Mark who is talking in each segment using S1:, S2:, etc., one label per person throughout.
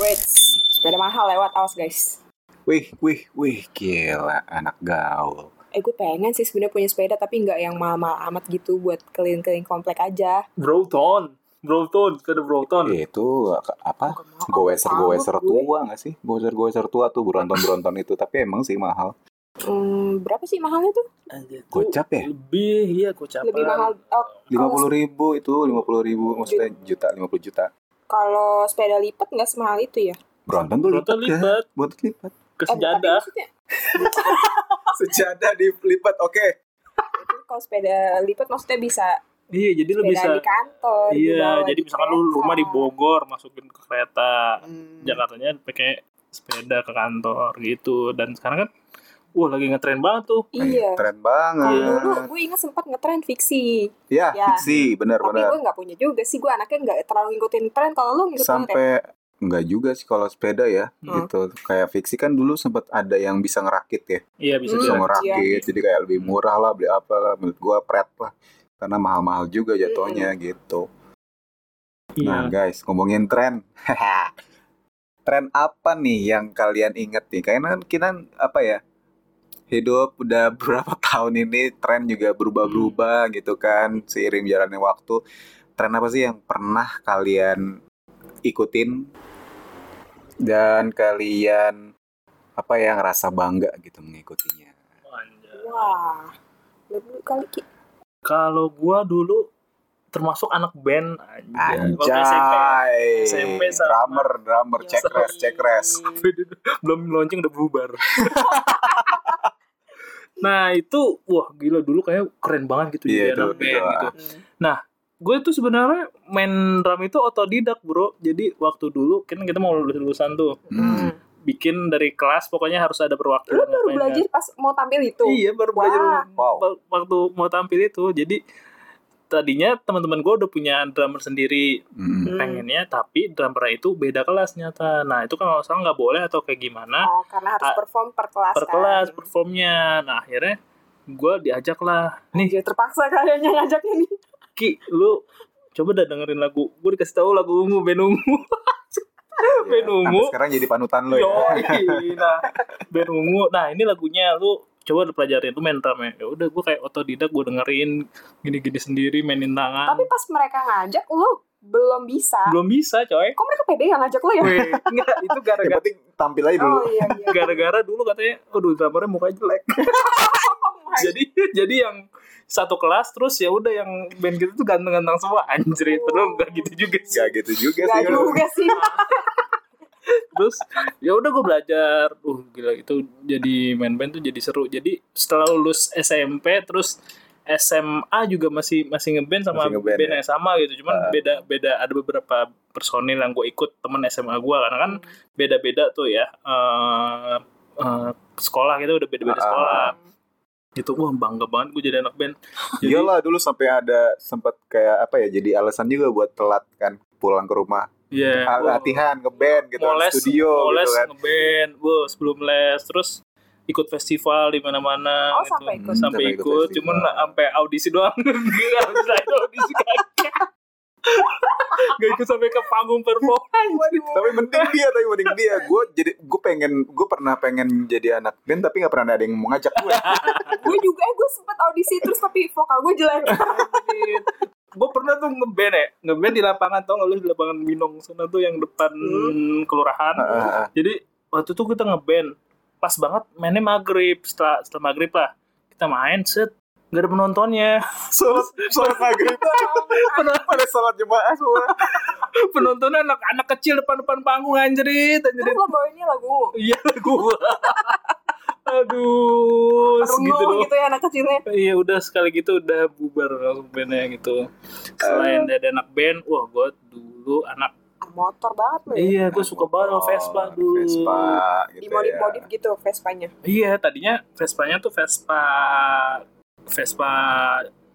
S1: Wait, sepeda mahal lewat, awas guys.
S2: Wih, wih, wih, gila anak gaul.
S1: Eh gue pengen sih sebenarnya punya sepeda tapi nggak yang mahal-mahal amat gitu buat keliling-keliling komplek aja.
S3: Broton. Broton, sepeda Broton.
S2: Iya. Itu apa?
S1: Nggak mau,
S2: Goeser goeser
S1: Tahu gue.
S2: tua nggak sih? Goeser goeser tua tuh beronton beronton itu. Tapi emang sih mahal.
S1: Hmm, berapa sih mahalnya tuh?
S3: Anjir, tuh
S2: Gocap ya?
S3: Lebih, iya gocap.
S1: Lebih mahal. Oh,
S2: Lima puluh ribu itu lima puluh ribu maksudnya juta lima puluh juta.
S1: kalau sepeda lipat nggak semahal itu ya?
S2: Beronton tuh lipat.
S3: Broton
S2: kan?
S3: lipat
S2: Beronton lipat.
S3: ke
S1: Eh, tapi
S3: sejadah.
S1: maksudnya,
S2: Sejadah dilipat. Oke.
S1: itu kalau sepeda lipat maksudnya bisa
S3: Iya, jadi lu
S1: sepeda
S3: bisa.
S1: di kantor.
S3: Iya,
S1: dibawa
S3: jadi
S1: di
S3: misalkan lu
S1: kereta.
S3: rumah di Bogor, masukin ke kereta.
S1: Hmm.
S3: Jakartanya pakai sepeda ke kantor gitu. Dan sekarang kan, wah lagi ngetren banget tuh.
S1: Iya.
S2: Eh, Keren
S1: Kalau
S2: banget.
S1: dulu gue ingat sempat ngetren fiksi,
S2: Ya,
S1: Ya.
S2: fiksi
S1: tapi
S2: benar-benar.
S1: gue nggak punya juga sih. Gue anaknya nggak terlalu ngikutin tren. Kalau lu ngikutin tren,
S2: sampai
S1: ya.
S2: nggak juga sih kalau sepeda ya
S3: Hmm.
S2: gitu kayak fiksi kan dulu sempat ada yang bisa ngerakit ya
S3: Iya, bisa
S1: Hmm.
S2: bisa
S3: dirakit.
S2: ngerakit jadi kayak lebih murah lah beli apa lah menurut gua pret lah karena mahal-mahal juga jatuhnya gitu nah
S3: Iya.
S2: guys ngomongin tren tren apa nih yang kalian inget nih karena kan kita apa ya hidup udah berapa tahun ini tren juga berubah-berubah gitu kan seiring jalannya waktu tren apa sih yang pernah kalian ikutin dan kalian apa yang ngerasa bangga gitu mengikutinya
S3: Anjay.
S1: wah, lebih kali Ki.
S3: Kalau gua dulu termasuk anak band anjay. Waktu SMP.
S2: Anjay
S3: SMP sama-
S2: drummer drummer
S3: Yang
S2: cek
S3: sama-
S2: res cek res
S3: Belum launching udah bubar. nah, itu wah gila dulu kayak keren banget
S2: Iya,
S3: gitu jadi
S2: itu-
S3: anak
S2: itu,
S3: band
S2: ah.
S3: gitu.
S1: Hmm.
S3: Gue tuh sebenarnya main drum itu otodidak, Bro. Jadi waktu dulu kan kita mau lulus-lulusan tuh,
S2: Hmm.
S3: bikin dari kelas pokoknya harus ada
S1: Lu baru
S3: perwakilan yang main.
S1: belajar pas mau tampil itu.
S3: Iya, baru belajar
S1: Wah.
S2: Wow.
S3: wa- waktu mau tampil itu. Jadi tadinya teman-teman gue udah punya drummer sendiri
S2: Hmm.
S1: Hmm.
S3: pengennya tapi drummer itu beda kelas nyata nah itu kan kalau nggak salah nggak boleh atau kayak gimana
S1: Oh, karena harus
S3: Ah,
S1: perform per kelas.
S3: per
S1: kan.
S3: kelas performnya nah akhirnya gue diajak lah nih
S1: Ya, terpaksa kayaknya ngajaknya
S3: Iya.
S1: nih.
S3: Ki lu coba dah dengerin lagu gue dikasih tahu lagu ungu band ungu
S2: Ya,
S1: Iya,
S3: Band
S2: sampai
S3: Ungu.
S2: sekarang jadi panutan lo ya
S3: Yoi, nah band ungu nah ini lagunya lu coba lu pelajarin lu main drumnya ya udah gue kayak otodidak gue dengerin gini-gini sendiri mainin tangan
S1: Tapi pas mereka ngajak, lu belum bisa.
S3: belum bisa coy
S1: Kok mereka pede yang ngajak lu ya?
S3: Weh, enggak, itu
S2: yang
S3: gara-gara
S2: penting tampil aja dulu
S1: Oh iya iya.
S3: gara-gara dulu katanya aduh drummernya mukanya jelek
S1: Oh my
S3: jadi jadi yang satu kelas terus ya udah yang band kita tuh ganteng-ganteng semua anjir itu
S1: Oh.
S3: enggak gitu juga sih
S2: Gak gitu juga
S1: Gak
S2: sih lu.
S1: juga sih.
S3: terus ya udah gue belajar uh gila itu jadi main band tuh jadi seru jadi setelah lulus SMP terus SMA juga masih masih ngeband sama
S2: Masih ngeband,
S3: band
S2: ya?
S3: yang sama gitu cuman
S2: Ah.
S3: beda beda ada beberapa personil yang gue ikut temen SMA gue karena kan beda-beda tuh ya eh eh, sekolah kita udah beda-beda
S2: Ah.
S3: sekolah gitu wah bangga banget gue jadi anak band Jadi-
S2: Iyalah dulu sampai ada sempat kayak apa ya jadi alasan juga buat telat kan pulang ke rumah.
S3: Iya.
S2: Ah,
S3: Wah.
S2: Latihan ngeband gitu
S3: mau les,
S2: studio
S3: mau les
S2: gitu kan.
S3: ngeband, wow, sebelum les, terus ikut festival di mana-mana,
S1: Oh,
S3: gitu.
S1: sampai ikut.
S2: Hmm,
S3: sampai
S2: sampai ikut
S3: ikut,
S2: festival.
S3: cuman sampai audisi doang, Gila, setelah itu audisi kagak, gak ikut sampai ke panggung perform,
S2: Tapi mending dia, tapi mending dia. Gue jadi gue pengen gue pernah pengen jadi anak band tapi nggak pernah ada yang mau ngajak gue.
S1: Gue juga, eh, gue sempet audisi terus tapi vokal gue jelek.
S3: gue pernah tuh ngeband ya, ngeband di lapangan tau nggak lu di lapangan Minong sana tuh yang depan
S1: Hmm.
S3: kelurahan,
S2: Ah, ah, ah.
S3: Jadi waktu itu kita ngeband pas banget mainnya maghrib setelah setelah maghrib lah kita main set nggak ada penontonnya
S2: Sholat sholat maghrib. Pernah pada sholat jemaah semua.
S3: penontonnya anak-anak kecil depan-depan panggung anjrit
S1: Terus
S3: anjrit
S1: lo bawainnya lagu
S3: iya gua aduh segitu
S1: Rungu
S3: doang
S1: gitu ya anak kecilnya.
S3: Iya udah sekali gitu udah bubar langsung bandnya gitu. Selain dari anak band, wah gue dulu anak.
S1: Ah, Motor banget lo ya.
S3: Iya gue suka banget sama Vespa dulu.
S2: Oh, Vespa gitu
S1: Dimodif-modif gitu Vespanya.
S3: Iya, tadinya Vespanya tuh Vespa Vespa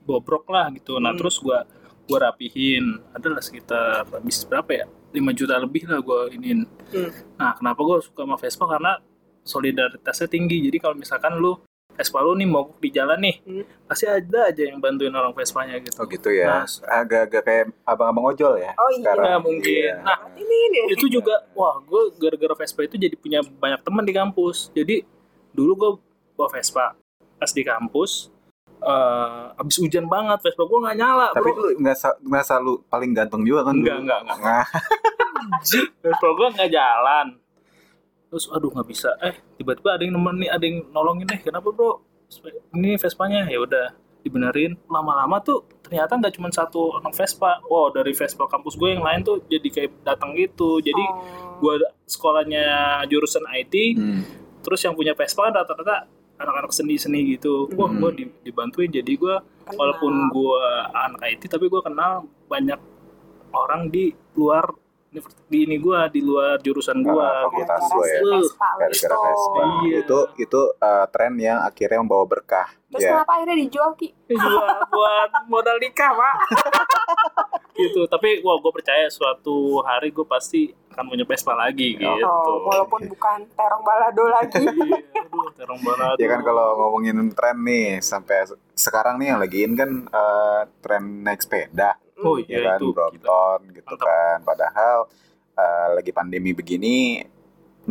S3: bobrok lah gitu. Nah,
S1: Hmm.
S3: terus gua gua rapihin. Adalah sekitar habis berapa ya? 5 juta lebih lah gua inin.
S1: Hmm.
S3: Nah, kenapa gua suka sama Vespa karena solidaritasnya tinggi. Jadi kalau misalkan lu Vespa lu nih mogok di jalan nih
S1: Hmm.
S3: pasti ada aja yang bantuin orang Vespanya gitu
S2: Oh gitu ya.
S3: Nah.
S2: Agak-agak kayak abang-abang ojol ya.
S1: Oh iya,
S2: sekarang.
S3: mungkin. Nah,
S1: ini ini
S3: itu
S2: Iya.
S3: juga wah gue gara-gara Vespa itu jadi punya banyak teman di kampus jadi dulu gue bawa Vespa pas di kampus eh abis hujan banget Vespa gue nggak nyala
S2: Tapi
S3: bro
S2: lu nggak sa- nggak selalu paling ganteng juga kan?
S3: Enggak,
S2: dulu?
S3: enggak, enggak.
S2: Nah,
S3: Anjing, Vespa gue nggak jalan terus aduh nggak bisa eh tiba-tiba ada yang nemen nih ada yang nolongin nih kenapa bro ini Vespanya ya udah dibenerin lama-lama tuh ternyata nggak cuma satu orang Vespa wow dari Vespa kampus gue yang lain tuh jadi kayak datang gitu jadi
S1: Oh,
S3: gue sekolahnya jurusan IT
S2: hmm.
S3: terus yang punya Vespa kan rata-rata anak-anak seni-seni gitu wah
S2: Hmm.
S3: gue di- dibantuin jadi gue walaupun gue anak IT tapi gue kenal banyak orang di luar univers- di ini gue di luar jurusan gue
S2: Ah,
S3: gitu.
S2: fakultas lo ya.
S1: Vespa, lo
S2: Gara-gara
S1: itu.
S2: Vespa.
S3: Iya.
S2: Itu itu eh, tren yang akhirnya membawa berkah.
S1: Terus
S2: ya.
S1: kenapa akhirnya dijual Ki?
S3: Ini juga buat modal nikah pak gitu tapi wah gue percaya suatu hari gue pasti akan punya Vespa lagi
S2: Ya.
S3: gitu
S1: Oh, walaupun bukan terong balado lagi.
S3: Iya, aduh, terong banget.
S2: Ya kan kalau ngomongin tren nih sampai se- sekarang nih yang lagi in kan eh, tren naik sepeda
S1: Hmm.
S3: oh
S2: ya, kan
S3: iya itu gila.
S2: Brompton gitu
S3: Mantap.
S2: kan padahal eh, lagi pandemi begini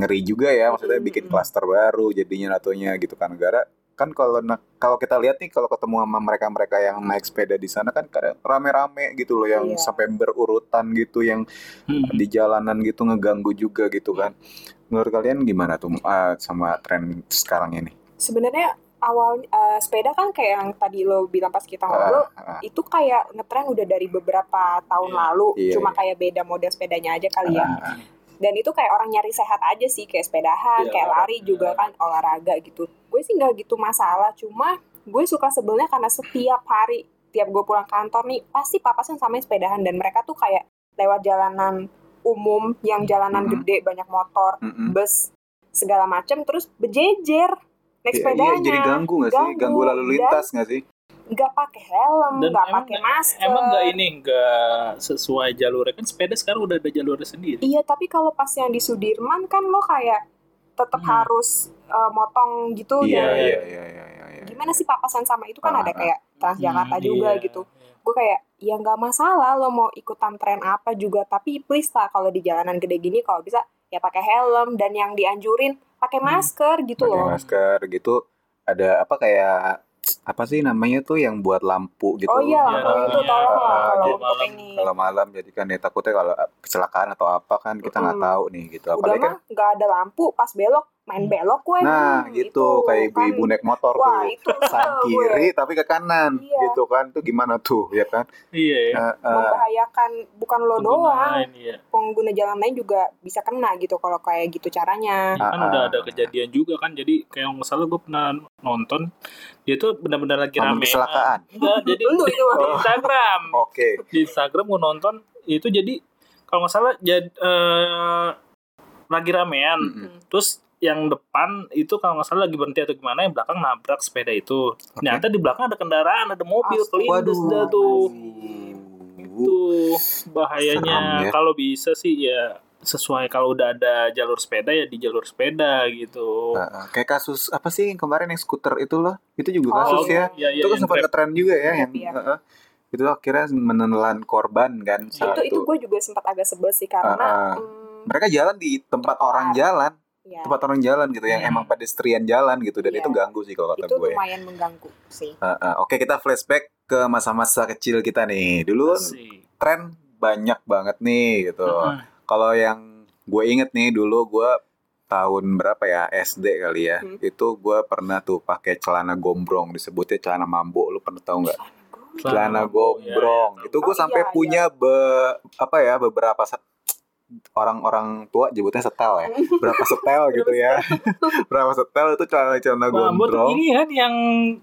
S2: ngeri juga ya maksudnya bikin
S1: Mm.
S2: klaster baru jadinya natunya gitu kan gara kan kalau na- kalau kita lihat nih kalau ketemu sama mereka-mereka yang naik sepeda di sana kan kadang rame-rame gitu loh yang
S1: Iya.
S2: sampai berurutan gitu yang
S3: Hmm.
S2: di jalanan gitu ngeganggu juga gitu kan menurut kalian gimana tuh eh, sama tren sekarang ini
S1: Sebenarnya awal eh, sepeda kan kayak yang tadi lo bilang pas kita ngobrol,
S2: Ah, ah.
S1: itu kayak ngetren udah dari beberapa tahun
S3: Iya.
S1: lalu
S2: Iya,
S1: cuma
S2: iya.
S1: kayak beda model sepedanya aja kali ya
S2: Ah.
S1: dan itu kayak orang nyari sehat aja sih kayak sepedahan
S3: Iya,
S1: kayak lari
S3: olahraga.
S1: juga kan olahraga gitu gue sih nggak gitu masalah cuma gue suka sebelnya karena setiap hari tiap gue pulang kantor nih pasti papasan sama yang sepedahan dan mereka tuh kayak lewat jalanan umum yang jalanan
S2: Mhm.
S1: gede banyak motor
S2: Mm-mm.
S1: bus segala macem terus bejejer naik
S2: Iya,
S1: sepedanya
S2: iya, jadi ganggu gak sih?
S1: Ganggu.
S2: Ganggu lalu
S1: Dan-
S2: lintas gak sih?
S1: nggak pakai helm
S3: Dan
S1: nggak
S3: emang-
S1: pakai masker
S3: Emang nggak ini nggak sesuai jalurnya kan sepeda sekarang udah ada jalurnya sendiri.
S1: Iya, tapi kalau pas yang di Sudirman kan lo kayak tetap
S3: Hmm.
S1: harus eh, motong gitu
S2: Mm-hmm. Iya,
S1: dan
S2: iya, iya, iya, iya, iya.
S1: gimana sih papasan sama itu kan
S2: Ah,
S1: ada
S2: ah.
S1: kayak Transjakarta
S3: Hmm,
S1: juga
S3: iya.
S1: gitu. Gue kayak ya nggak masalah lo mau ikutan tren apa juga, tapi please lah kalau di jalanan gede gini kalau bisa ya pakai helm dan yang dianjurin pakai
S3: Hmm.
S1: masker gitu
S2: Pakai
S1: loh.
S2: masker gitu ada apa kayak apa sih namanya tuh yang buat lampu gitu.
S1: Oh iya,
S3: Iya,
S1: lampu
S2: Ah,
S1: itu
S3: iya.
S1: tolong lah
S2: Ah,
S1: kalau
S2: jadi
S1: untuk
S3: malam
S1: ini.
S2: Kalau malam jadi kan ya takutnya kalau kecelakaan atau apa kan kita nggak
S1: Mm-mm.
S2: tahu nih gitu.
S1: Udah
S2: Apalagi kan
S1: mah nggak ada lampu, pas belok main belok gue.
S2: nah
S1: Hmm,
S2: gitu
S1: itu
S2: kayak ibu-ibu
S1: kan.
S2: naik motor
S1: Wah,
S2: tuh
S1: itu
S2: samping
S1: kesel gue.
S2: kiri tapi ke kanan
S1: Iya.
S2: gitu kan tuh gimana tuh ya kan?
S3: Iya. iya.
S2: Eh, eh,
S1: membahayakan bukan lo doang,
S3: Penggunaan, Iya.
S1: pengguna jalan lain juga bisa kena gitu kalau kayak gitu caranya.
S3: Ya, kan
S2: Ah,
S3: udah
S2: ah.
S3: ada kejadian juga kan jadi kayak nggak salah gue pernah nonton dia tuh benar-benar lagi
S2: momen
S3: rame
S2: kecelakaan.
S3: enggak jadi
S1: Lu ya? itu
S3: di
S2: Oh.
S3: Instagram
S2: Oke.
S3: di Instagram gue nonton itu jadi kalau nggak salah jadi eh, lagi ramean
S1: Hmm.
S2: Mm-mm.
S3: terus yang depan itu kalau nggak salah lagi berhenti atau gimana yang belakang nabrak sepeda itu ternyata di belakang ada kendaraan ada mobil
S1: Astaga.
S3: kelindes dah tuh
S2: Waduh.
S3: itu
S2: Serem
S3: bahayanya
S2: ya.
S3: kalau bisa sih ya sesuai kalau udah ada jalur sepeda ya di jalur sepeda gitu
S2: Nah, eh, kayak kasus apa sih yang kemarin yang skuter itu loh itu juga
S1: Oh,
S2: kasus ya
S3: iya, iya,
S2: itu kan
S3: yang
S2: sempat
S3: Grab.
S2: ngetren juga ya
S1: Grab,
S2: yang
S1: iya.
S2: eh, eh. itu akhirnya menelan korban kan
S1: Itu itu gue juga sempat agak sebel sih karena
S2: Ah, ah.
S1: hmm,
S2: mereka jalan di tempat orang jalan
S1: ya,
S2: tempat orang jalan gitu yang
S3: Hmm.
S2: emang pedestrian jalan gitu dan
S1: Iya.
S2: itu ganggu sih kalau kata
S1: itu
S2: gue ya.
S1: lumayan mengganggu sih.
S2: Eh, eh. oke kita flashback ke masa-masa kecil kita nih dulu kan
S3: Asik.
S2: tren banyak banget nih gitu
S3: Heeh.
S2: kalau yang gue inget nih dulu gue tahun berapa ya SD kali ya
S1: Hmm.
S2: itu gue pernah tuh pakai celana gombrong disebutnya celana mambo lu pernah tahu nggak
S3: Celana
S2: celana
S3: mambo,
S2: gombrong
S3: iya, iya,
S2: itu gue
S1: Oh,
S2: sampai
S1: iya,
S2: punya be apa ya beberapa set- orang-orang tua jebutnya setel ya berapa setel gitu ya berapa setel itu celana celana
S3: Mambo tuh
S2: gombrong
S3: ini kan yang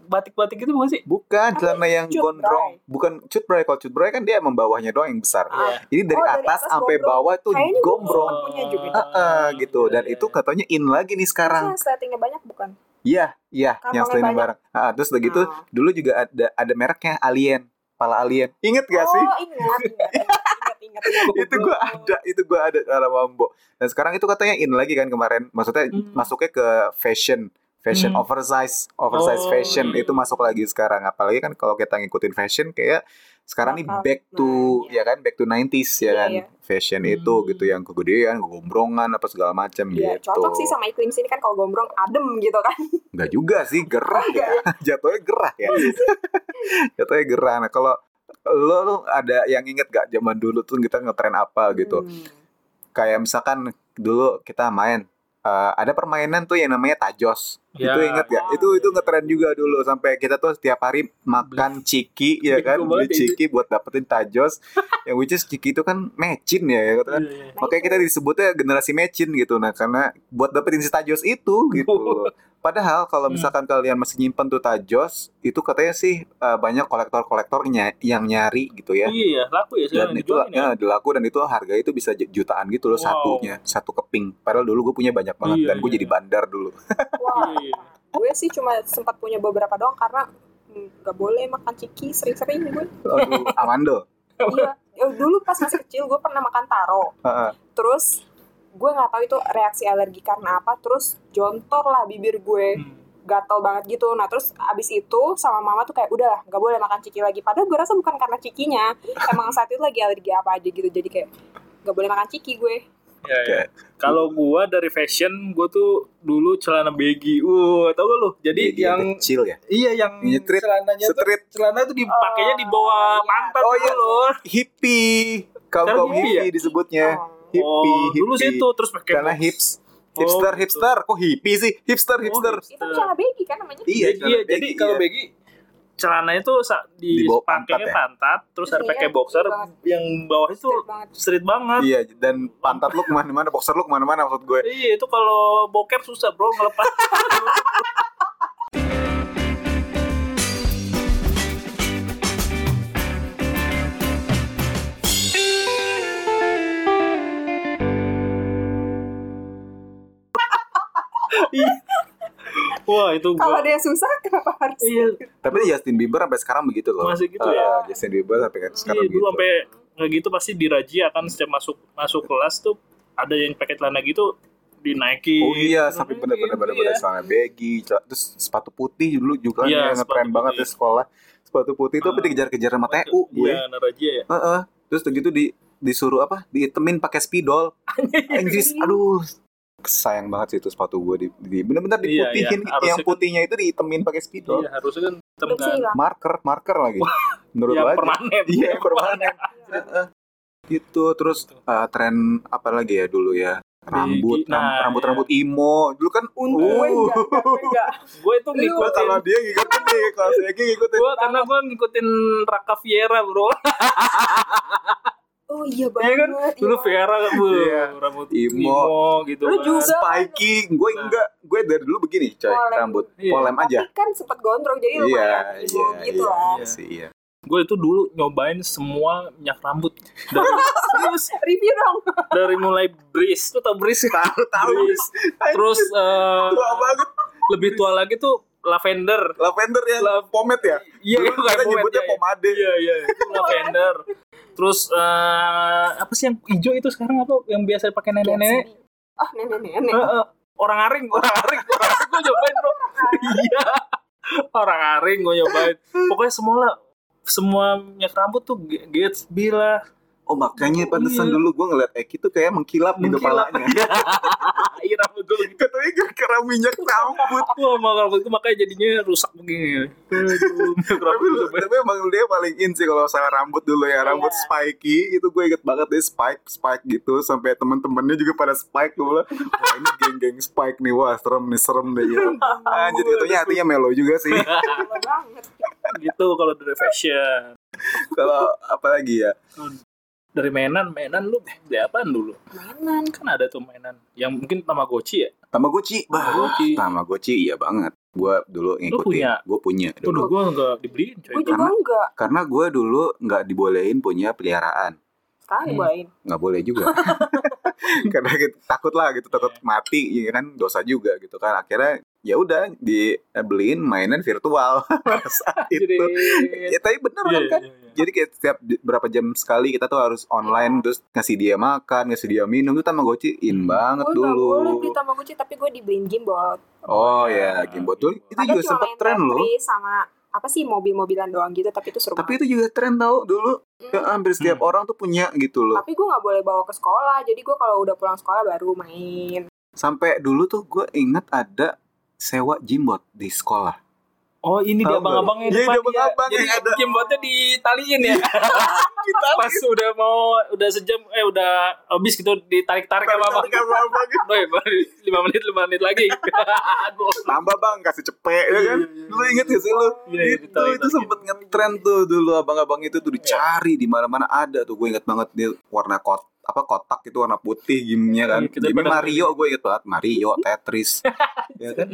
S3: batik-batik itu bukan sih?
S2: bukan celana yang
S1: cutbray?
S2: gondrong bukan cutbray kalau cutbray kan dia emang bawahnya doang yang besar
S3: Iya.
S2: ini dari
S1: Oh, dari
S2: atas
S1: atas
S2: sampai
S1: gombrong.
S2: bawah itu
S1: Kayaknya gue
S2: gombrong
S1: pernah punya juga.
S3: Ah,
S2: Heeh, gitu
S3: iya,
S2: dan
S3: iya,
S2: itu
S3: iya.
S2: katanya in lagi nih sekarang
S1: Karena settingnya banyak bukan?
S2: iya iya
S1: Kantongnya
S2: yang selain
S1: banyak.
S2: barang Ah, terus udah gitu
S1: Ah.
S2: dulu juga ada ada mereknya alien pala alien inget gak sih
S1: Oh ingat ingat ingat ingat.
S3: Iya,
S1: ingat.
S2: itu gua ada itu gua ada cara mambo dan sekarang itu katanya in lagi kan kemarin maksudnya
S3: Hmm.
S2: masuknya ke fashion fashion
S3: Hmm.
S2: oversize oversize
S3: Oh,
S2: fashion
S3: iya.
S2: itu masuk lagi sekarang apalagi kan kalau kita ngikutin fashion kayak sekarang nih
S1: Bakal-
S2: back to
S1: nah, iya.
S2: ya kan back to 90s ya
S1: Iya,
S2: kan
S1: iya.
S2: fashion
S3: Hmm.
S2: itu gitu yang kegedean kegombrongan apa segala macam
S1: Iya,
S2: gitu
S1: cocok sih sama iklim sini kan kalau gombrong adem gitu kan.
S2: Enggak juga sih gerah
S1: iya.
S2: ya jatuhnya gerah ya jatuhnya gerah nah kalau lo lo ada yang inget gak zaman dulu tuh kita ngetren apa gitu
S1: Hmm.
S2: kayak misalkan dulu kita main eh, ada permainan tuh yang namanya tajos
S3: Ya.
S2: itu inget
S1: Ya.
S2: gak? itu itu ngetren juga dulu sampai kita tuh setiap hari makan ciki ya
S3: Beli
S2: kan
S3: gua
S2: beli
S3: banget ya itu.
S2: ciki buat dapetin tajos yang which is ciki itu kan mecin ya, ya kan?
S3: Iya, iya.
S1: Nah,
S2: makanya
S1: itu.
S2: kita disebutnya generasi mecin gitu nah karena buat dapetin si tajos itu gitu padahal kalau
S3: Hmm.
S2: misalkan kalian masih nyimpen tuh tajos itu katanya sih eh, banyak kolektor-kolektornya yang nyari gitu ya
S3: Iya, ya, laku
S2: dan
S3: ya sekarang
S2: itu
S3: dijualin ya.
S2: ya, dilaku dan itu harga itu bisa j- jutaan gitu loh
S3: Wow.
S2: satunya satu keping padahal dulu gue punya banyak banget
S3: Iya,
S2: dan gue
S3: iya.
S2: jadi bandar dulu
S1: Wah,
S3: Iya, iya.
S1: gue sih cuma sempat punya beberapa doang karena hmm, nggak boleh makan ciki sering-sering gue.
S2: aduh amando
S1: Iya, Ya, dulu pas masih kecil gue pernah makan taro.
S2: Heeh.
S1: Terus gue nggak tahu itu reaksi alergi karena apa. Terus jontor lah bibir gue,
S3: Hmm.
S1: gatel banget gitu. Nah terus abis itu sama mama tuh kayak udahlah nggak boleh makan ciki lagi. Padahal gue rasa bukan karena cikinya, emang saat itu lagi alergi apa aja gitu. Jadi kayak nggak boleh makan ciki gue.
S3: Iya,
S2: Oke.
S3: iya. Kalau gua dari fashion, gua tuh dulu celana baggy. Uh, tau gak lu? Jadi
S2: Jadi
S3: yang
S2: kecil ya
S3: iya yang
S2: Nyetrit,
S3: celananya tuh
S2: street
S3: celana tuh dipakainya di
S1: Oh,
S3: bawah pantat
S2: oh,
S3: oh,
S2: iya.
S3: loh.
S2: hippie kaum
S3: Sekarang
S2: kaum
S3: hippie
S2: hippie
S3: ya?
S2: disebutnya
S1: Oh.
S2: hippie
S3: oh,
S2: hippie.
S3: dulu
S2: ya,
S3: sih itu terus pakai
S2: karena
S3: box.
S2: hips
S3: Oh,
S2: hipster
S3: gitu.
S2: hipster kok hippie sih hipster
S3: Oh,
S2: hipster
S1: Itu celana baby kan namanya.
S2: iya
S3: Jadi- iya, jadi kalau
S2: iya.
S3: baggy celananya tuh sa-
S2: Di
S3: di,
S2: bawah pantat
S3: pakainya
S2: ya?
S3: pantat, terus
S1: Iya,
S3: ada pakai boxer
S1: banget.
S3: yang bawah itu
S1: Straight banget.
S3: street banget.
S2: Iya, dan pantat lu kemana-mana, boxer lu kemana-mana maksud gue.
S3: Iya, itu kalau bokep susah, Bro, ngelepas. Iya. Wah, itu
S1: Kalau
S3: gua.
S1: dia susah kenapa harus?
S3: Iya,
S2: Tapi Justin Bieber sampai sekarang begitu loh.
S3: Masih gitu
S2: Eh,
S3: ya?
S2: Justin Bieber sampai sekarang
S3: iya, dulu
S2: begitu.
S3: sampai nggak gitu pasti dirajia kan setiap masuk masuk kelas tuh ada yang pakai celana gitu dinaikin.
S2: Oh iya, sampai
S3: Dinaikin,
S2: bener-bener bener-bener
S3: iya.
S2: celana baggy, cel- terus sepatu putih dulu juga
S3: Iya,
S2: nih, ngetren
S3: sepatu
S2: banget
S3: putih.
S2: di sekolah. Sepatu putih itu apa
S3: Ah.
S2: dikejar-kejar sama TU gue.
S3: Iya, narajia ya.
S2: Heeh. Terus begitu di disuruh apa? Diitemin pakai spidol. Anjis, aduh. Sayang banget sih itu sepatu gue di, di- bener-bener
S3: Iya,
S2: diputihin.
S3: iya, harusnya
S2: Yang
S3: kan-
S2: putihnya itu diitemin pakai spidol.
S3: Iya, harusnya kan
S1: Hidup sih
S3: temen
S1: hilang.
S2: Marker, marker lagi. Menurut
S3: yang
S2: lo aja.
S3: permanen.
S2: Iya, yang permanen. Heeh. Gitu, terus
S3: Gitu.
S2: eh, tren apa lagi ya dulu ya? Rambut,
S3: Nah, iya.
S2: rambut, rambut imo. Dulu kan
S1: Untung gue enggak, gue enggak.
S3: Gue itu
S2: Gua
S3: ngikutin
S2: kalau dia ngikutin nih, kalau saya ngikutin.
S3: gue karena gue ngikutin Raka Fiera bro
S1: Oh iya
S3: Iya
S1: banget.
S3: kan dulu
S1: iya.
S3: Fiera kan bu
S2: Iya.
S3: rambut
S2: Imo.
S3: gitu
S1: Lu
S3: kan.
S1: juga
S2: Spiky, gue enggak, gue dari dulu begini, coy,
S1: Nah. Polem.
S2: rambut
S3: Iya.
S2: polem aja.
S1: Tapi kan sempet gondrong jadi lumayan
S2: Iya,
S1: emo
S2: iya,
S1: gitu
S2: iya,
S1: lah.
S2: iya sih, iya.
S3: gue itu dulu nyobain semua minyak rambut dari, serius,
S1: Review dong.
S3: dari mulai bris tuh tau bris tahu terus eh,
S2: tua banget,
S3: lebih tua lagi tuh lavender
S2: lavender yang pomade ya.
S3: iya
S2: Dulu
S3: itu kayak
S2: kita
S3: pomade,
S2: nyebutnya
S3: iya, iya.
S2: pomade.
S3: iya iya itu lavender terus eh, apa sih yang hijau itu sekarang apa yang biasa pakai nenek-nenek
S1: Ah nenek-nenek.
S3: Heeh. orang aring orang aring orang aring gue nyobain bro iya orang aring gue nyobain pokoknya semua lah semua minyak rambut tuh G- Gatsby lah
S2: Oh makanya pantesan
S3: Iya.
S2: dulu gue ngeliat Eki tuh kayak mengkilap, gitu di
S3: Mengkilap.
S2: kepalanya.
S3: iya rambut gue begitu
S2: Katanya gara-gara minyak rambut.
S3: wah emang rambut gue makanya jadinya rusak begini Aduh, minyak
S2: tapi
S3: rambut
S2: lu,
S3: gue
S2: tapi emang dia paling in sih kalau salah rambut dulu ya rambut
S1: Iya.
S2: spiky itu gue inget banget deh spike spike gitu sampai temen-temennya juga pada spike gue bilang wah ini geng-geng spike nih wah serem nih serem deh gitu anjir katanya hatinya melo juga sih
S1: Gila banget.
S3: gitu kalau dari fashion
S2: kalau apalagi ya
S3: dari mainan mainan lu beli apaan dulu
S1: Mainan.
S3: kan ada tuh mainan yang mungkin tamagotchi ya
S2: Tamagotchi bah
S3: Tamagotchi.
S2: Tamagotchi iya banget gue dulu ngikutin
S3: punya?
S2: gue punya
S3: Waduh,
S2: dulu
S3: gue nggak dibeliin coy
S1: Gue juga
S2: Karena-
S1: enggak.
S2: karena gue dulu nggak dibolehin punya peliharaan
S1: Sekarang
S3: Hmm.
S1: gue lain.
S2: nggak boleh juga iya karena kita- takut lah gitu takut mati ya kan dosa juga gitu kan akhirnya ya udah dibeliin mainan virtual pada saat itu ya tapi bener kan,
S3: Iya, iya,
S2: kan?
S3: iya.
S2: jadi kayak setiap j- berapa jam sekali kita tuh harus online terus ngasih dia makan ngasih dia minum itu tamagotchi in
S3: Hmm.
S2: banget
S1: Gue gak
S2: dulu
S1: Oh, boleh beli Tamagotchi tapi gue dibeliin gimbal.
S2: oh ya gimbal dulu itu
S1: Ada
S2: juga
S1: cuma
S2: sempat
S1: main
S2: tren loh
S1: Tetris sama apa sih mobil-mobilan doang gitu tapi itu seru
S2: tapi itu juga tren tau dulu
S1: banget.
S2: Ya,
S1: Mm.
S2: hampir setiap
S3: Hmm.
S2: orang tuh punya gitu loh
S1: tapi gue nggak boleh bawa ke sekolah jadi gue kalau udah pulang sekolah baru main
S2: sampai dulu tuh gue inget ada sewa jimbot di sekolah
S3: Oh ini
S2: Tahu
S3: dia
S2: nggak?
S3: abang-abangnya
S2: Iya,
S3: depan
S2: dia
S3: ya.
S2: abang-abang
S3: Jadi
S2: yang ada. Iya.
S3: gimbotnya ditaliin ya Pas udah mau Udah sejam Eh udah habis gitu Ditarik-tarik sama abang Doi, baru 5 menit 5 menit lagi Aduh
S2: tambah bang kasih cepet ya kan lu inget gak sih lu
S3: Iya, iya,
S2: itu Gitu,
S3: betul,
S2: itu
S3: betul.
S2: sempet ngetren tuh dulu abang-abang itu tuh dicari di mana-mana ada tuh gue inget banget dia warna kot apa kotak itu warna putih gamenya kan
S3: Iya, kita
S2: game
S3: pada-
S2: Mario gue inget banget Mario Tetris ya
S3: Iya,
S2: kan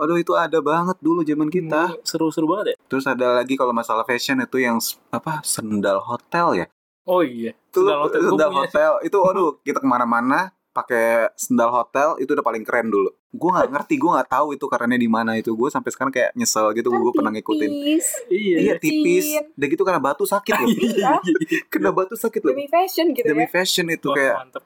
S2: aduh itu ada banget dulu zaman kita
S3: Seru-seru banget ya
S2: terus ada lagi kalau masalah fashion itu yang s- apa sendal hotel ya
S3: Oh iya
S2: itu
S3: Sendal hotel. Gue
S2: sendal
S3: punya.
S2: hotel itu aduh kita kemana-mana pakai sendal hotel itu udah paling keren dulu gue nggak ngerti gue nggak tahu itu karenanya di mana itu gue sampai sekarang kayak nyesel gitu
S1: Kan
S2: gue pernah ngikutin
S1: tipis.
S2: Iya
S3: Iya
S2: tipis.
S1: Kan Tipis.
S2: Udah gitu kena batu sakit loh.
S1: Iya.
S2: kena batu sakit loh.
S1: demi fashion gitu
S2: gitu. Demi
S1: ya
S2: fashion itu
S3: Wah,
S2: kayak
S3: mantep.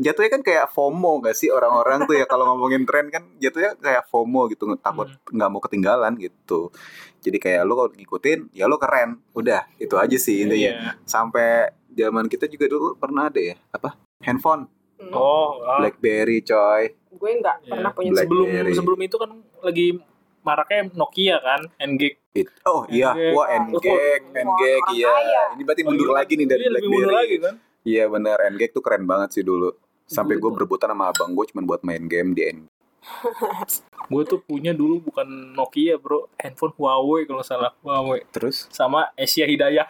S2: jatuhnya kan kayak FOMO gak sih orang-orang tuh ya kalau ngomongin tren kan jatuhnya kayak FOMO gitu takut
S3: Hmm.
S2: nggak mau ketinggalan gitu. Jadi kayak lu kalau ngikutin ya lu keren. Udah itu aja sih intinya.
S3: Iya.
S2: Sampai zaman kita juga dulu pernah ada ya apa? Handphone
S1: Hmm.
S3: Oh ah.
S2: BlackBerry coy.
S1: gue nggak
S3: Iya.
S1: pernah punya
S2: Black-
S3: sebelum
S2: Blackberry.
S3: sebelum itu kan lagi maraknya Nokia kan NG
S2: It- oh iya,
S3: N-Gag.
S2: wah N-Gag,
S1: Wah,
S2: N-Gag
S1: orang
S2: iya.
S1: kaya.
S2: Ini berarti mundur lagi nih dari
S3: Iya, lebih mundur
S2: BlackBerry.
S3: lagi kan
S2: Iya benar, N-Gag tuh keren banget sih dulu. Sampai gue
S3: Betul.
S2: berebutan sama abang gue cuma buat main game di N. E
S3: Gue tuh punya dulu bukan Nokia bro Handphone Huawei kalau nggak salah Huawei
S2: Terus?
S3: Sama Asia Hidayah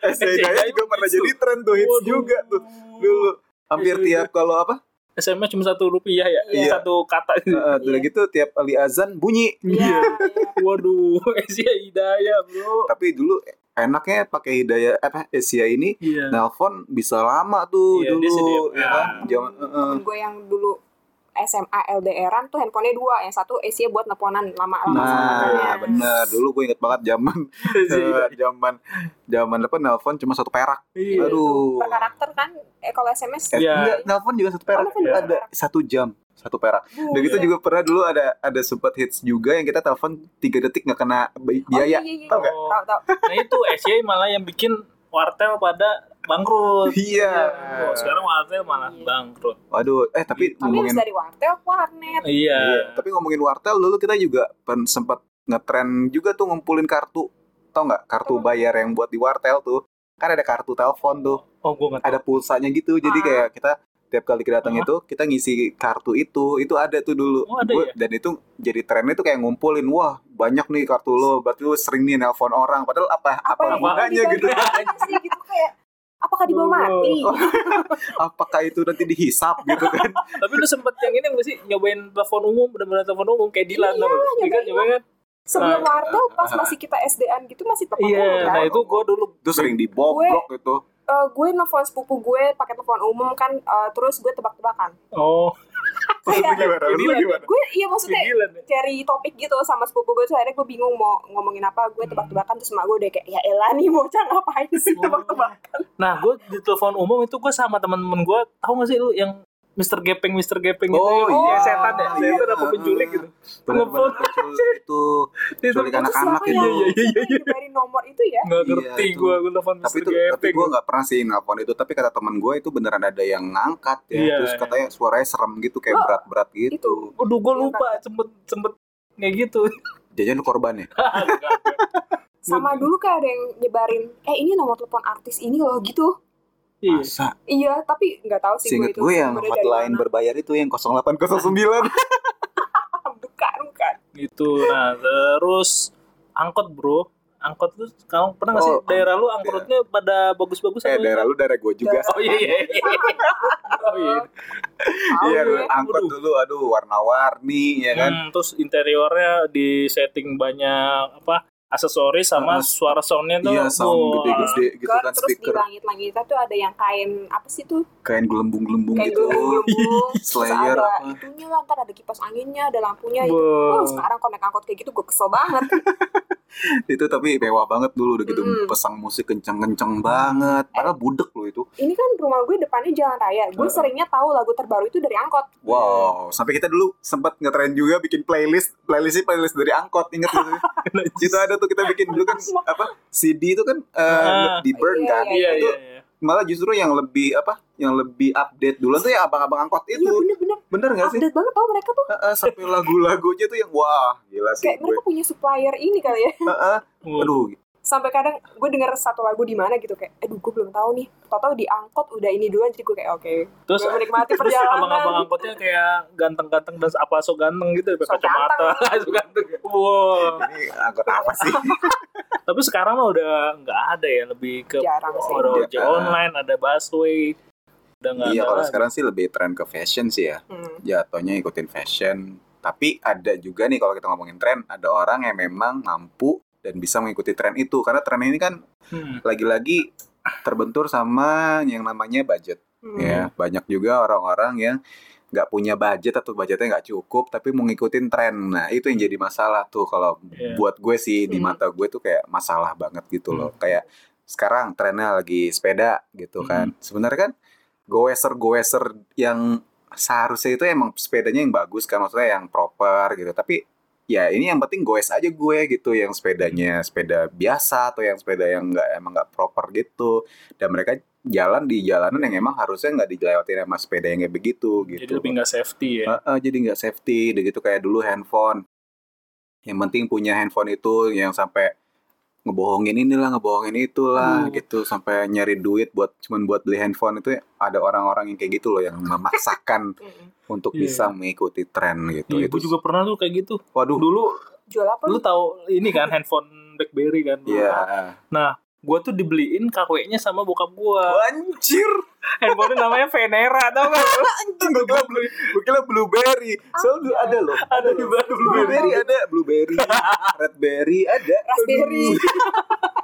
S3: Eh,
S2: Saya juga pernah jadi tren tuh hits
S3: E Waduh. Iya,
S2: juga tuh
S1: Hmm.
S2: dulu. Hampir
S3: Hits juga.
S2: tiap kalau apa?
S3: SMS cuma satu rupiah ya
S1: Iya.
S3: Satu kata
S2: eh, eh, Udah
S1: Iya.
S2: gitu tiap kali azan bunyi.
S1: Iya, iya.
S3: Waduh Asia Hidayah bro
S2: Tapi dulu enaknya pakai hidayah apa Asia ini
S3: Iya
S2: nelpon bisa lama tuh
S3: Iya, dia sedia.
S2: dulu ya kan? Zaman eh, eh.
S1: Temen gue yang dulu SMA LDRan tuh handphonenya dua yang satu isinya buat neponan lama-lama sama temennya.
S2: Nah, bener. Dulu gue inget banget zaman eh,
S3: Asia Hidayah.
S2: zaman zaman apa nelpon cuma satu perak.
S1: Iya, itu.
S2: eh,
S3: Iya.
S2: Aduh.
S1: per karakter kan eh, kalau SMS
S2: Eh,
S3: Iya.
S2: enggak, nelpon juga satu perak.
S1: Oh, nelpon juga
S2: Ada
S1: perak.
S2: satu jam, satu perak. Udah
S3: Iya.
S2: gitu juga pernah dulu ada ada sempat hits juga yang kita telepon 3 detik nggak kena bi- biaya.
S1: tau
S2: Tau
S1: gak?
S2: nggak?
S1: Tau, tau.
S3: Nah itu Asia malah yang bikin Wartel pada bangkrut
S2: Iya.
S3: Oh, Sekarang Iya. Wartel malah
S1: Iya.
S3: bangkrut
S2: Waduh, eh tapi
S1: Tapi habis
S2: ngomongin
S1: dari wartel, warnet.
S3: Iya
S2: iya, tapi ngomongin wartel dulu kita juga pen- sempat ngetren juga tuh ngumpulin kartu. Tau nggak kartu bayar yang buat di wartel tuh. Kan ada kartu telepon tuh,
S3: Oh gue nggak
S2: ada pulsanya gitu. Jadi
S1: Ah.
S2: kayak kita tiap kali kita datang
S3: Ah.
S2: itu kita ngisi kartu itu. Itu ada tuh dulu.
S3: Oh, ada
S2: Gua- Dan itu jadi trennya tuh kayak ngumpulin, wah, banyak nih kartu lo. Berarti lo sering nih nelpon orang. Padahal apa apa,
S1: yang
S2: gunanya
S1: dibagi-
S2: gitu.
S1: sih, gitu kayak apakah dibawa
S3: Oh.
S1: mati?
S2: apakah itu nanti dihisap gitu kan
S3: Tapi lu sempet yang ini gak sih nyobain telepon umum, bener-bener telepon umum kayak Dilan
S1: Iya,
S3: tau gak? Iya, kan
S1: nyobain.
S3: nyobain kan?
S1: Sebelum
S3: Nah.
S1: wartel pas masih kita SDN gitu masih telepon
S3: Iya,
S1: umum, kan?
S3: nah itu gua dulu
S2: itu sering dibobrok gitu
S1: Eh, gue nelfon sepupu gue pakai telepon umum kan eh, terus gue tebak-tebakan.
S3: Oh,
S2: Maksudnya gimana?
S3: Jadi
S2: Maksudnya
S3: lah.
S2: gimana?
S1: Gue iya maksudnya
S3: Dilan ya?
S1: cari topik gitu sama sepupu gue terus akhirnya gue bingung mau ngomongin apa
S3: Hmm.
S1: gue tebak-tebakan terus emak gue udah kayak ya elah nih bocah ngapain sih
S3: Oh,
S1: tebak-tebakan
S3: Nah, gue di telepon umum itu gue sama teman-teman gue, tahu gak sih lu yang Mr. Gepeng, Mr. Gepeng gitu
S2: Oh,
S3: yang-
S1: iya.
S3: yang setan ya,
S2: Iya.
S3: setan apa penculik gitu.
S2: Bener-bener penculik itu
S3: Dia
S2: Penculik
S3: tuh-
S2: anak-anak
S1: siapa
S2: itu
S1: ya?
S3: Iya, iya, iya, iya.
S1: dari nomor itu ya
S3: Nggak
S2: Iya,
S3: ngerti
S2: itu.
S3: gue, gue telepon
S2: tapi
S3: Mr.
S2: itu tapi
S3: Gepeng.
S2: gue nggak pernah sih nelfon itu tapi kata teman gue itu beneran ada yang ngangkat ya
S3: Iya.
S2: terus katanya suaranya serem gitu kayak
S1: Oh,
S2: berat-berat
S1: itu.
S2: gitu
S3: Waduh, gue
S1: Iya,
S3: lupa, sempet sempet kayak gitu.
S2: jajan ya? korbannya
S1: sama
S3: Iya.
S1: dulu kayak ada yang nyebarin eh ini nomor telepon artis ini loh gitu
S3: Iya.
S2: masa
S1: iya tapi nggak tahu sih
S2: singkat
S1: itu
S2: gue yang
S1: sumbernya dari
S2: hotline
S1: mana.
S2: berbayar itu yang 0809
S1: Kan bukan bukan
S3: Gitu. Nah, terus angkot, Bro. Angkot lu sekarang pernah gak sih
S2: Oh,
S3: daerah lu
S2: angkot, iya.
S3: angkotnya pada bagus-bagus
S2: eh
S3: apa
S2: daerah lu daerah gue juga
S3: Oh iya iya. iya. Oh iya.
S1: Tahu
S2: iya
S1: gue.
S2: angkot
S3: Waduh.
S2: dulu aduh warna-warni ya kan
S3: Hmm, terus interiornya di setting banyak apa aksesoris
S2: Ah,
S3: sama suara soundnya tuh
S2: Iya,
S3: wah.
S2: sound gede-gede gitu
S1: God,
S2: kan
S1: terus di
S2: speaker.
S1: langit-langit itu ada yang kain apa sih tuh
S2: Kain gelembung-gelembung
S1: kain
S2: gitu.
S1: gelembung terus
S2: Slayer
S1: ada
S2: apa.
S1: itunya lah ntar ada kipas anginnya ada lampunya itu oh
S3: Wah.
S1: sekarang konek angkot kayak gitu gue kesel banget
S2: itu tapi mewah banget dulu udah gitu
S1: Mm-mm. Eh.
S2: pesang musik kenceng-kenceng banget. Padahal budek loh itu.
S1: ini kan rumah gue depannya jalan raya gue
S2: Heeh.
S1: seringnya tahu lagu terbaru itu dari angkot
S2: Wow, sampai kita dulu sempat ngetren juga bikin playlist, playlistnya playlist dari angkot, inget gitu. itu ada tuh kita bikin dulu kan apa CD itu kan eh,
S3: Ah.
S2: di burn
S1: Iya,
S2: kan,
S3: iya
S2: itu
S3: iya iya
S2: malah justru yang lebih apa, yang lebih update dulu tuh ya abang-abang angkot
S1: iya
S2: itu,
S1: bener-bener
S2: bener nggak sih?
S1: update banget tau mereka tuh
S2: Heeh, sampai lagu-lagunya tuh yang wah gila sih
S1: kayak
S2: gue.
S1: mereka punya supplier ini kali ya
S2: Heeh.
S3: Wah.
S2: Aduh,
S1: sampai kadang gue denger satu lagu di mana gitu kayak aduh gue belum tahu nih tau-tau di angkot udah ini duluan jadi gue kayak oke
S3: terus
S1: gue menikmati
S3: terus
S1: perjalanan
S3: abang-abang angkotnya kayak ganteng-ganteng dan apa so ganteng gitu pakai
S1: So
S3: kacamata so ganteng wow
S2: ini angkot apa sih?
S3: tapi sekarang mah udah nggak ada ya lebih ke
S1: jarang sih
S3: ada
S2: Iya,
S3: ojek
S2: kan.
S3: online ada busway udah nggak
S2: iya,
S3: ada
S2: kalau
S3: lagi.
S2: sekarang sih lebih tren ke fashion sih ya.
S1: Hmm.
S2: jatuhnya ikutin fashion. Tapi ada juga nih kalau kita ngomongin tren, ada orang yang memang mampu dan bisa mengikuti tren itu. Karena tren ini kan
S3: Hmm.
S2: lagi-lagi terbentur sama yang namanya budget.
S1: Hmm.
S2: Ya, banyak juga orang-orang yang nggak punya budget atau budgetnya nggak cukup, tapi mau ngikutin tren. Nah, itu yang jadi masalah tuh kalau
S3: Iya.
S2: buat gue sih di
S1: Hmm.
S2: mata gue tuh kayak masalah banget gitu loh. Kayak sekarang trennya lagi sepeda gitu kan.
S1: Hmm.
S2: Sebenarnya kan goeser-goeser yang seharusnya itu emang sepedanya yang bagus kan maksudnya yang proper gitu. Tapi ya ini yang penting goes aja gue gitu yang sepedanya sepeda biasa atau yang sepeda yang nggak emang nggak proper gitu. Dan mereka jalan di jalanan yang emang harusnya nggak dilewatin sama sepeda yang kayak begitu gitu.
S3: jadi lebih nggak safety ya
S2: Heeh, jadi nggak safety, udah gitu kayak dulu handphone. Yang penting punya handphone itu yang sampai ngebohongin inilah, ngebohongin itulah
S3: Hmm.
S2: gitu sampai nyari duit buat cuman buat beli handphone itu ada orang-orang yang kayak gitu loh yang memaksakan
S1: Mm-mm.
S2: untuk
S3: Iya.
S2: bisa mengikuti tren gitu.
S3: Iya,
S2: itu
S3: gue juga pernah tuh kayak gitu.
S2: waduh.
S3: Dulu
S1: jual apa lu
S3: lu tahu ini kan handphone BlackBerry kan. dulu.
S2: Iya.
S3: Gua tuh dibeliin KW-nya sama bokap gua.
S2: Anjir,
S3: Handphone namanya Venera tau gak? lu?
S2: anjing gue kira, blu- gue kira blueberry. Soalnya ada loh.
S3: Ada di bawah
S2: Blueberry
S3: BlackBerry.
S2: ada, blueberry, redberry ada.
S1: raspberry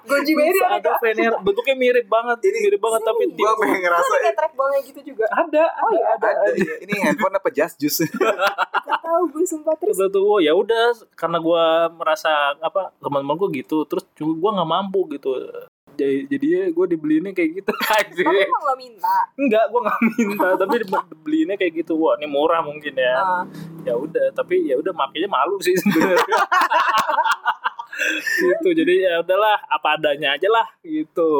S1: goji berry
S3: Terus
S1: ada
S3: ada Venera bentuknya mirip banget,
S2: Ini-
S3: mirip banget tapi
S2: Gue
S3: tipe-
S2: pengen ngerasa ya?
S1: ada trackballnya gitu juga
S3: ada, ada, ada.
S2: ada. iya. Ini handphone apa just juice?
S1: gak tahu gue sumpah terus
S3: Terus
S2: Iya.
S3: gua tuh, oh ya udah, karena gua merasa apa teman-teman gua gitu, terus juga gua nggak mampu gitu. Jadi jadinya gua dibeliinnya kayak gitu aja.
S1: tapi emang lo minta
S3: Enggak, gua nggak minta, tapi dibeliinnya kayak gitu. Wah, ini murah mungkin
S2: Iya.
S3: ya.
S1: Ah,
S3: ya udah tapi ya udah makanya malu sih sebenarnya gitu jadi ya udahlah apa adanya aja lah gitu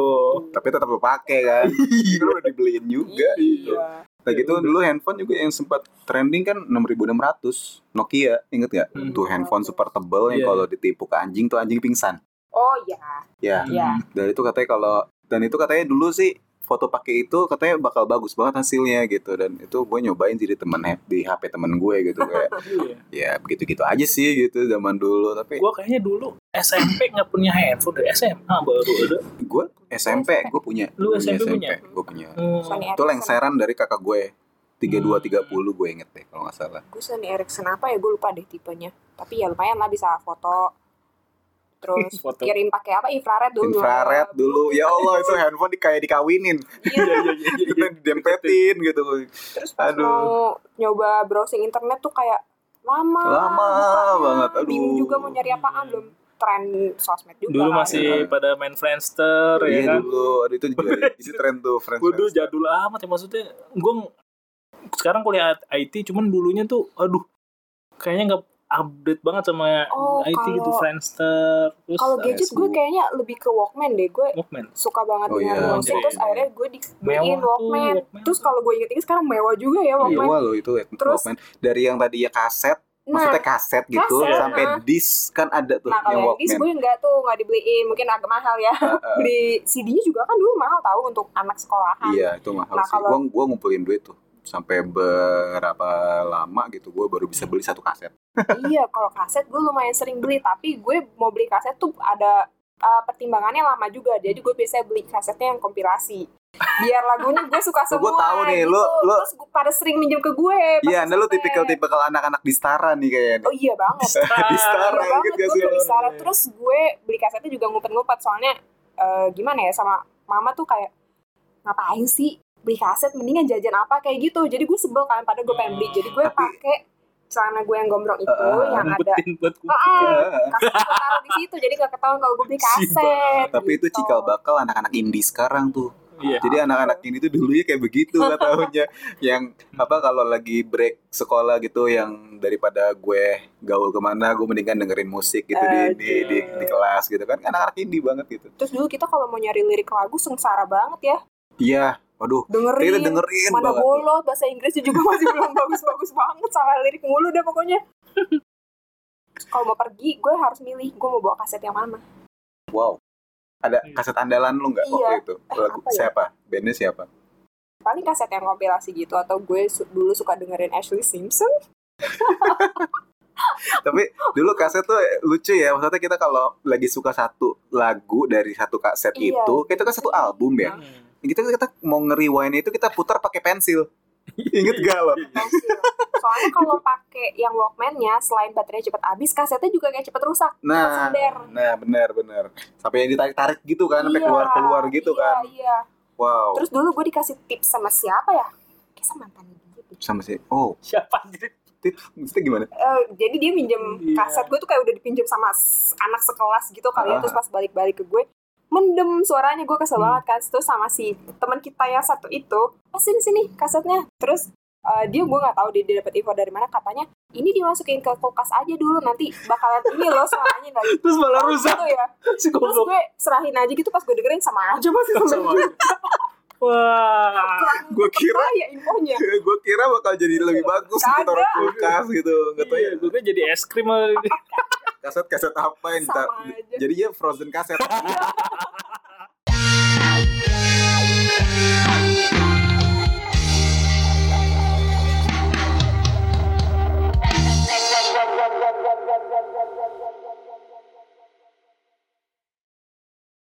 S2: tapi tetap lu pakai kan Kan udah dibeliin Oh, juga gitu
S1: iya
S2: nah gitu dulu handphone juga yang sempat trending kan 6600 Nokia inget gak
S3: Hmm.
S2: tuh handphone super tebel yang
S3: Iya.
S2: kalau ditipu ke anjing tuh anjing pingsan
S1: oh ya
S2: ya
S1: ya
S2: dari itu katanya kalau dan itu katanya dulu sih foto pakai itu katanya bakal bagus banget hasilnya gitu dan itu gue nyobain jadi temen hap- di HP temen gue gitu kayak
S1: Iya.
S2: ya begitu gitu aja sih gitu zaman dulu tapi
S3: gue kayaknya dulu SMP nggak punya handphone dari SMA baru ada
S2: gue SMP gue punya
S3: Lu
S2: Gua
S3: SMP punya?
S2: gue punya
S3: hmm.
S1: Sony
S2: itu
S1: Ericsson
S2: lengseran dari kakak gue 32 30
S3: Hmm.
S2: gue inget deh kalau nggak salah
S1: gue Sony Ericsson apa ya gue lupa deh tipenya tapi ya lumayan lah bisa foto terus
S3: Foto.
S1: kirim pakai apa infrared dulu
S2: infrared dulu ya Allah itu handphone di, kayak dikawinin
S1: Iya.
S2: kita dempetin gitu
S1: terus pas
S2: Aduh.
S1: mau nyoba browsing internet tuh kayak lama
S2: Lama
S1: bukanya.
S2: banget, aduh.
S1: bingung juga mau nyari apaan belum tren sosmed juga
S3: dulu
S1: kan.
S3: masih pada main Friendster
S2: iya
S3: ya kan
S2: dulu aduh, itu juga itu tren tuh friends
S3: gue dulu jadul amat ya maksudnya gue sekarang kuliah IT cuman dulunya tuh aduh kayaknya nggak update banget sama
S1: Oh,
S3: IT gitu
S1: kalau-
S3: Friendster terus
S1: kalau
S2: Terus,
S1: gadget gue
S2: Facebook.
S1: kayaknya lebih ke Walkman deh gue
S3: Walkman
S1: suka banget
S2: Oh
S1: dengan
S2: iya,
S1: musik
S3: iya,
S1: terus
S2: iya.
S1: akhirnya gue dibeliin
S3: Mewah tuh,
S1: Walkman.
S3: Walkman.
S1: terus kalau gue inget-inget sekarang mewah juga ya Walkman
S2: Iya loh itu
S1: Terus-
S2: Walkman. dari yang tadi ya kaset maksudnya kaset gitu
S1: Nah, kaset,
S2: sampai
S1: nah.
S2: disk kan ada tuh
S1: nah
S2: yang
S1: kalau yang
S2: Walkman Iya.
S1: disc gue nggak tuh nggak dibeliin mungkin agak mahal ya
S2: Heeh.
S1: beli CD-nya juga kan dulu mahal tahu untuk anak sekolahan
S2: iya itu mahal
S1: Nah,
S2: sih
S1: kalau-
S2: gue gue ngumpulin duit tuh sampai berapa lama gitu gue baru bisa beli satu kaset
S1: iya kalau kaset gue lumayan sering beli tapi gue mau eh, beli kaset tuh ada uh, pertimbangannya lama juga jadi gue biasanya beli kasetnya yang kompilasi biar lagunya gue suka
S2: Oh,
S1: semua
S2: gua tahu nih,
S1: gitu.
S2: lu- lu-
S1: terus gua- pada sering minjem ke gue pas
S2: Iya, anda lu
S1: SMP.
S2: tipikal-tipikal anak-anak di Stara nih kayaknya.
S1: oh iya banget
S2: di
S1: Iya
S2: Stara, inget
S1: banget
S2: gak
S1: gue
S2: sih?
S1: tuh di sana. terus gue beli kasetnya juga ngumpet-ngumpet soalnya eh, gimana ya sama mama tuh kayak ngapain sih beli kaset mendingan jajan apa kayak gitu jadi gue sebel kan pada gue pengen beli jadi gue
S2: Tapi-
S1: pakai celana gue yang gombrong itu
S2: Eh,
S1: yang ada
S3: Ngumpetin buat ku-
S1: Ah,
S2: Iya.
S1: kaset gue taruh di situ jadi gak ketahuan kalau gue beli kaset
S2: Tapi itu
S1: gitu.
S2: cikal bakal anak-anak indie sekarang tuh.
S3: Iya.
S2: Jadi anak-anak ini tuh dulunya kayak begitu lah tahunnya. Yang apa kalau lagi break sekolah gitu yang daripada gue gaul kemana gue mendingan dengerin musik gitu di, di, di, di kelas gitu kan. Anak-anak indie banget gitu.
S1: terus dulu kita kalau mau nyari lirik lagu sengsara banget ya
S2: Iya, waduh.
S1: dengerin,
S2: Kita dengerin
S1: mana
S2: banget. tuh.
S1: bolot bahasa Inggrisnya juga masih belum bagus-bagus banget salah lirik mulu dah pokoknya kalau mau pergi gue harus milih gue mau bawa kaset yang mana
S2: Wow. Ada kaset andalan lu nggak
S1: Iya.
S2: waktu itu? Lagu
S1: apa ya?
S2: siapa? Bandnya siapa?
S1: paling kaset yang kompilasi gitu atau gue su- dulu suka dengerin Ashley Simpson
S2: Tapi dulu kaset tuh lucu ya. Maksudnya kita kalau lagi suka satu lagu dari satu kaset
S1: Iya.
S2: itu, itu kan satu album ya.
S3: Hmm.
S2: kita kita mau ngeriwain itu kita putar pakai pensil inget gak lo
S1: soalnya kalau pakai yang Walkman-nya selain baterainya cepet habis kasetnya juga kayak cepet rusak
S2: nah
S1: Sender.
S2: nah benar benar sampai yang ditarik tarik gitu kan sampai
S1: Iya,
S2: keluar keluar gitu
S1: iya,
S2: kan
S1: iya.
S2: wow
S1: terus dulu gue dikasih tips sama siapa ya kayak sama mantan gitu
S2: sama sih oh
S3: Siapa anjir?
S2: tip maksudnya gimana
S1: Eh, jadi dia minjem
S3: Iya.
S1: kaset gue tuh kayak udah dipinjem sama s- anak sekelas gitu kali ya
S2: Ah.
S1: terus pas balik-balik ke gue mendem suaranya gue kesel
S3: Hmm.
S1: banget kan terus sama si teman kita yang satu itu pas sini sini kasetnya terus eh, dia gue nggak tahu dia, dia dapat info dari mana katanya ini dimasukin ke kulkas aja dulu nanti bakalan ini loh suaranya nggak gitu
S3: Terus malah rusak
S1: gitu ya
S3: si
S1: terus
S3: goblok.
S1: gue serahin aja gitu pas gue dengerin sama aja masih
S3: Sama aja. Wah.
S2: gue kira
S1: ya infonya
S2: gue kira bakal jadi lebih bagus
S1: Kagak.
S2: ditaruh kulkas gitu nggak tahu ya
S3: Iya, gue jadi es krim lah.
S2: kaset kaset apa yang
S1: Sama
S2: ditaruh
S1: aja.
S2: jadi ya frozen kaset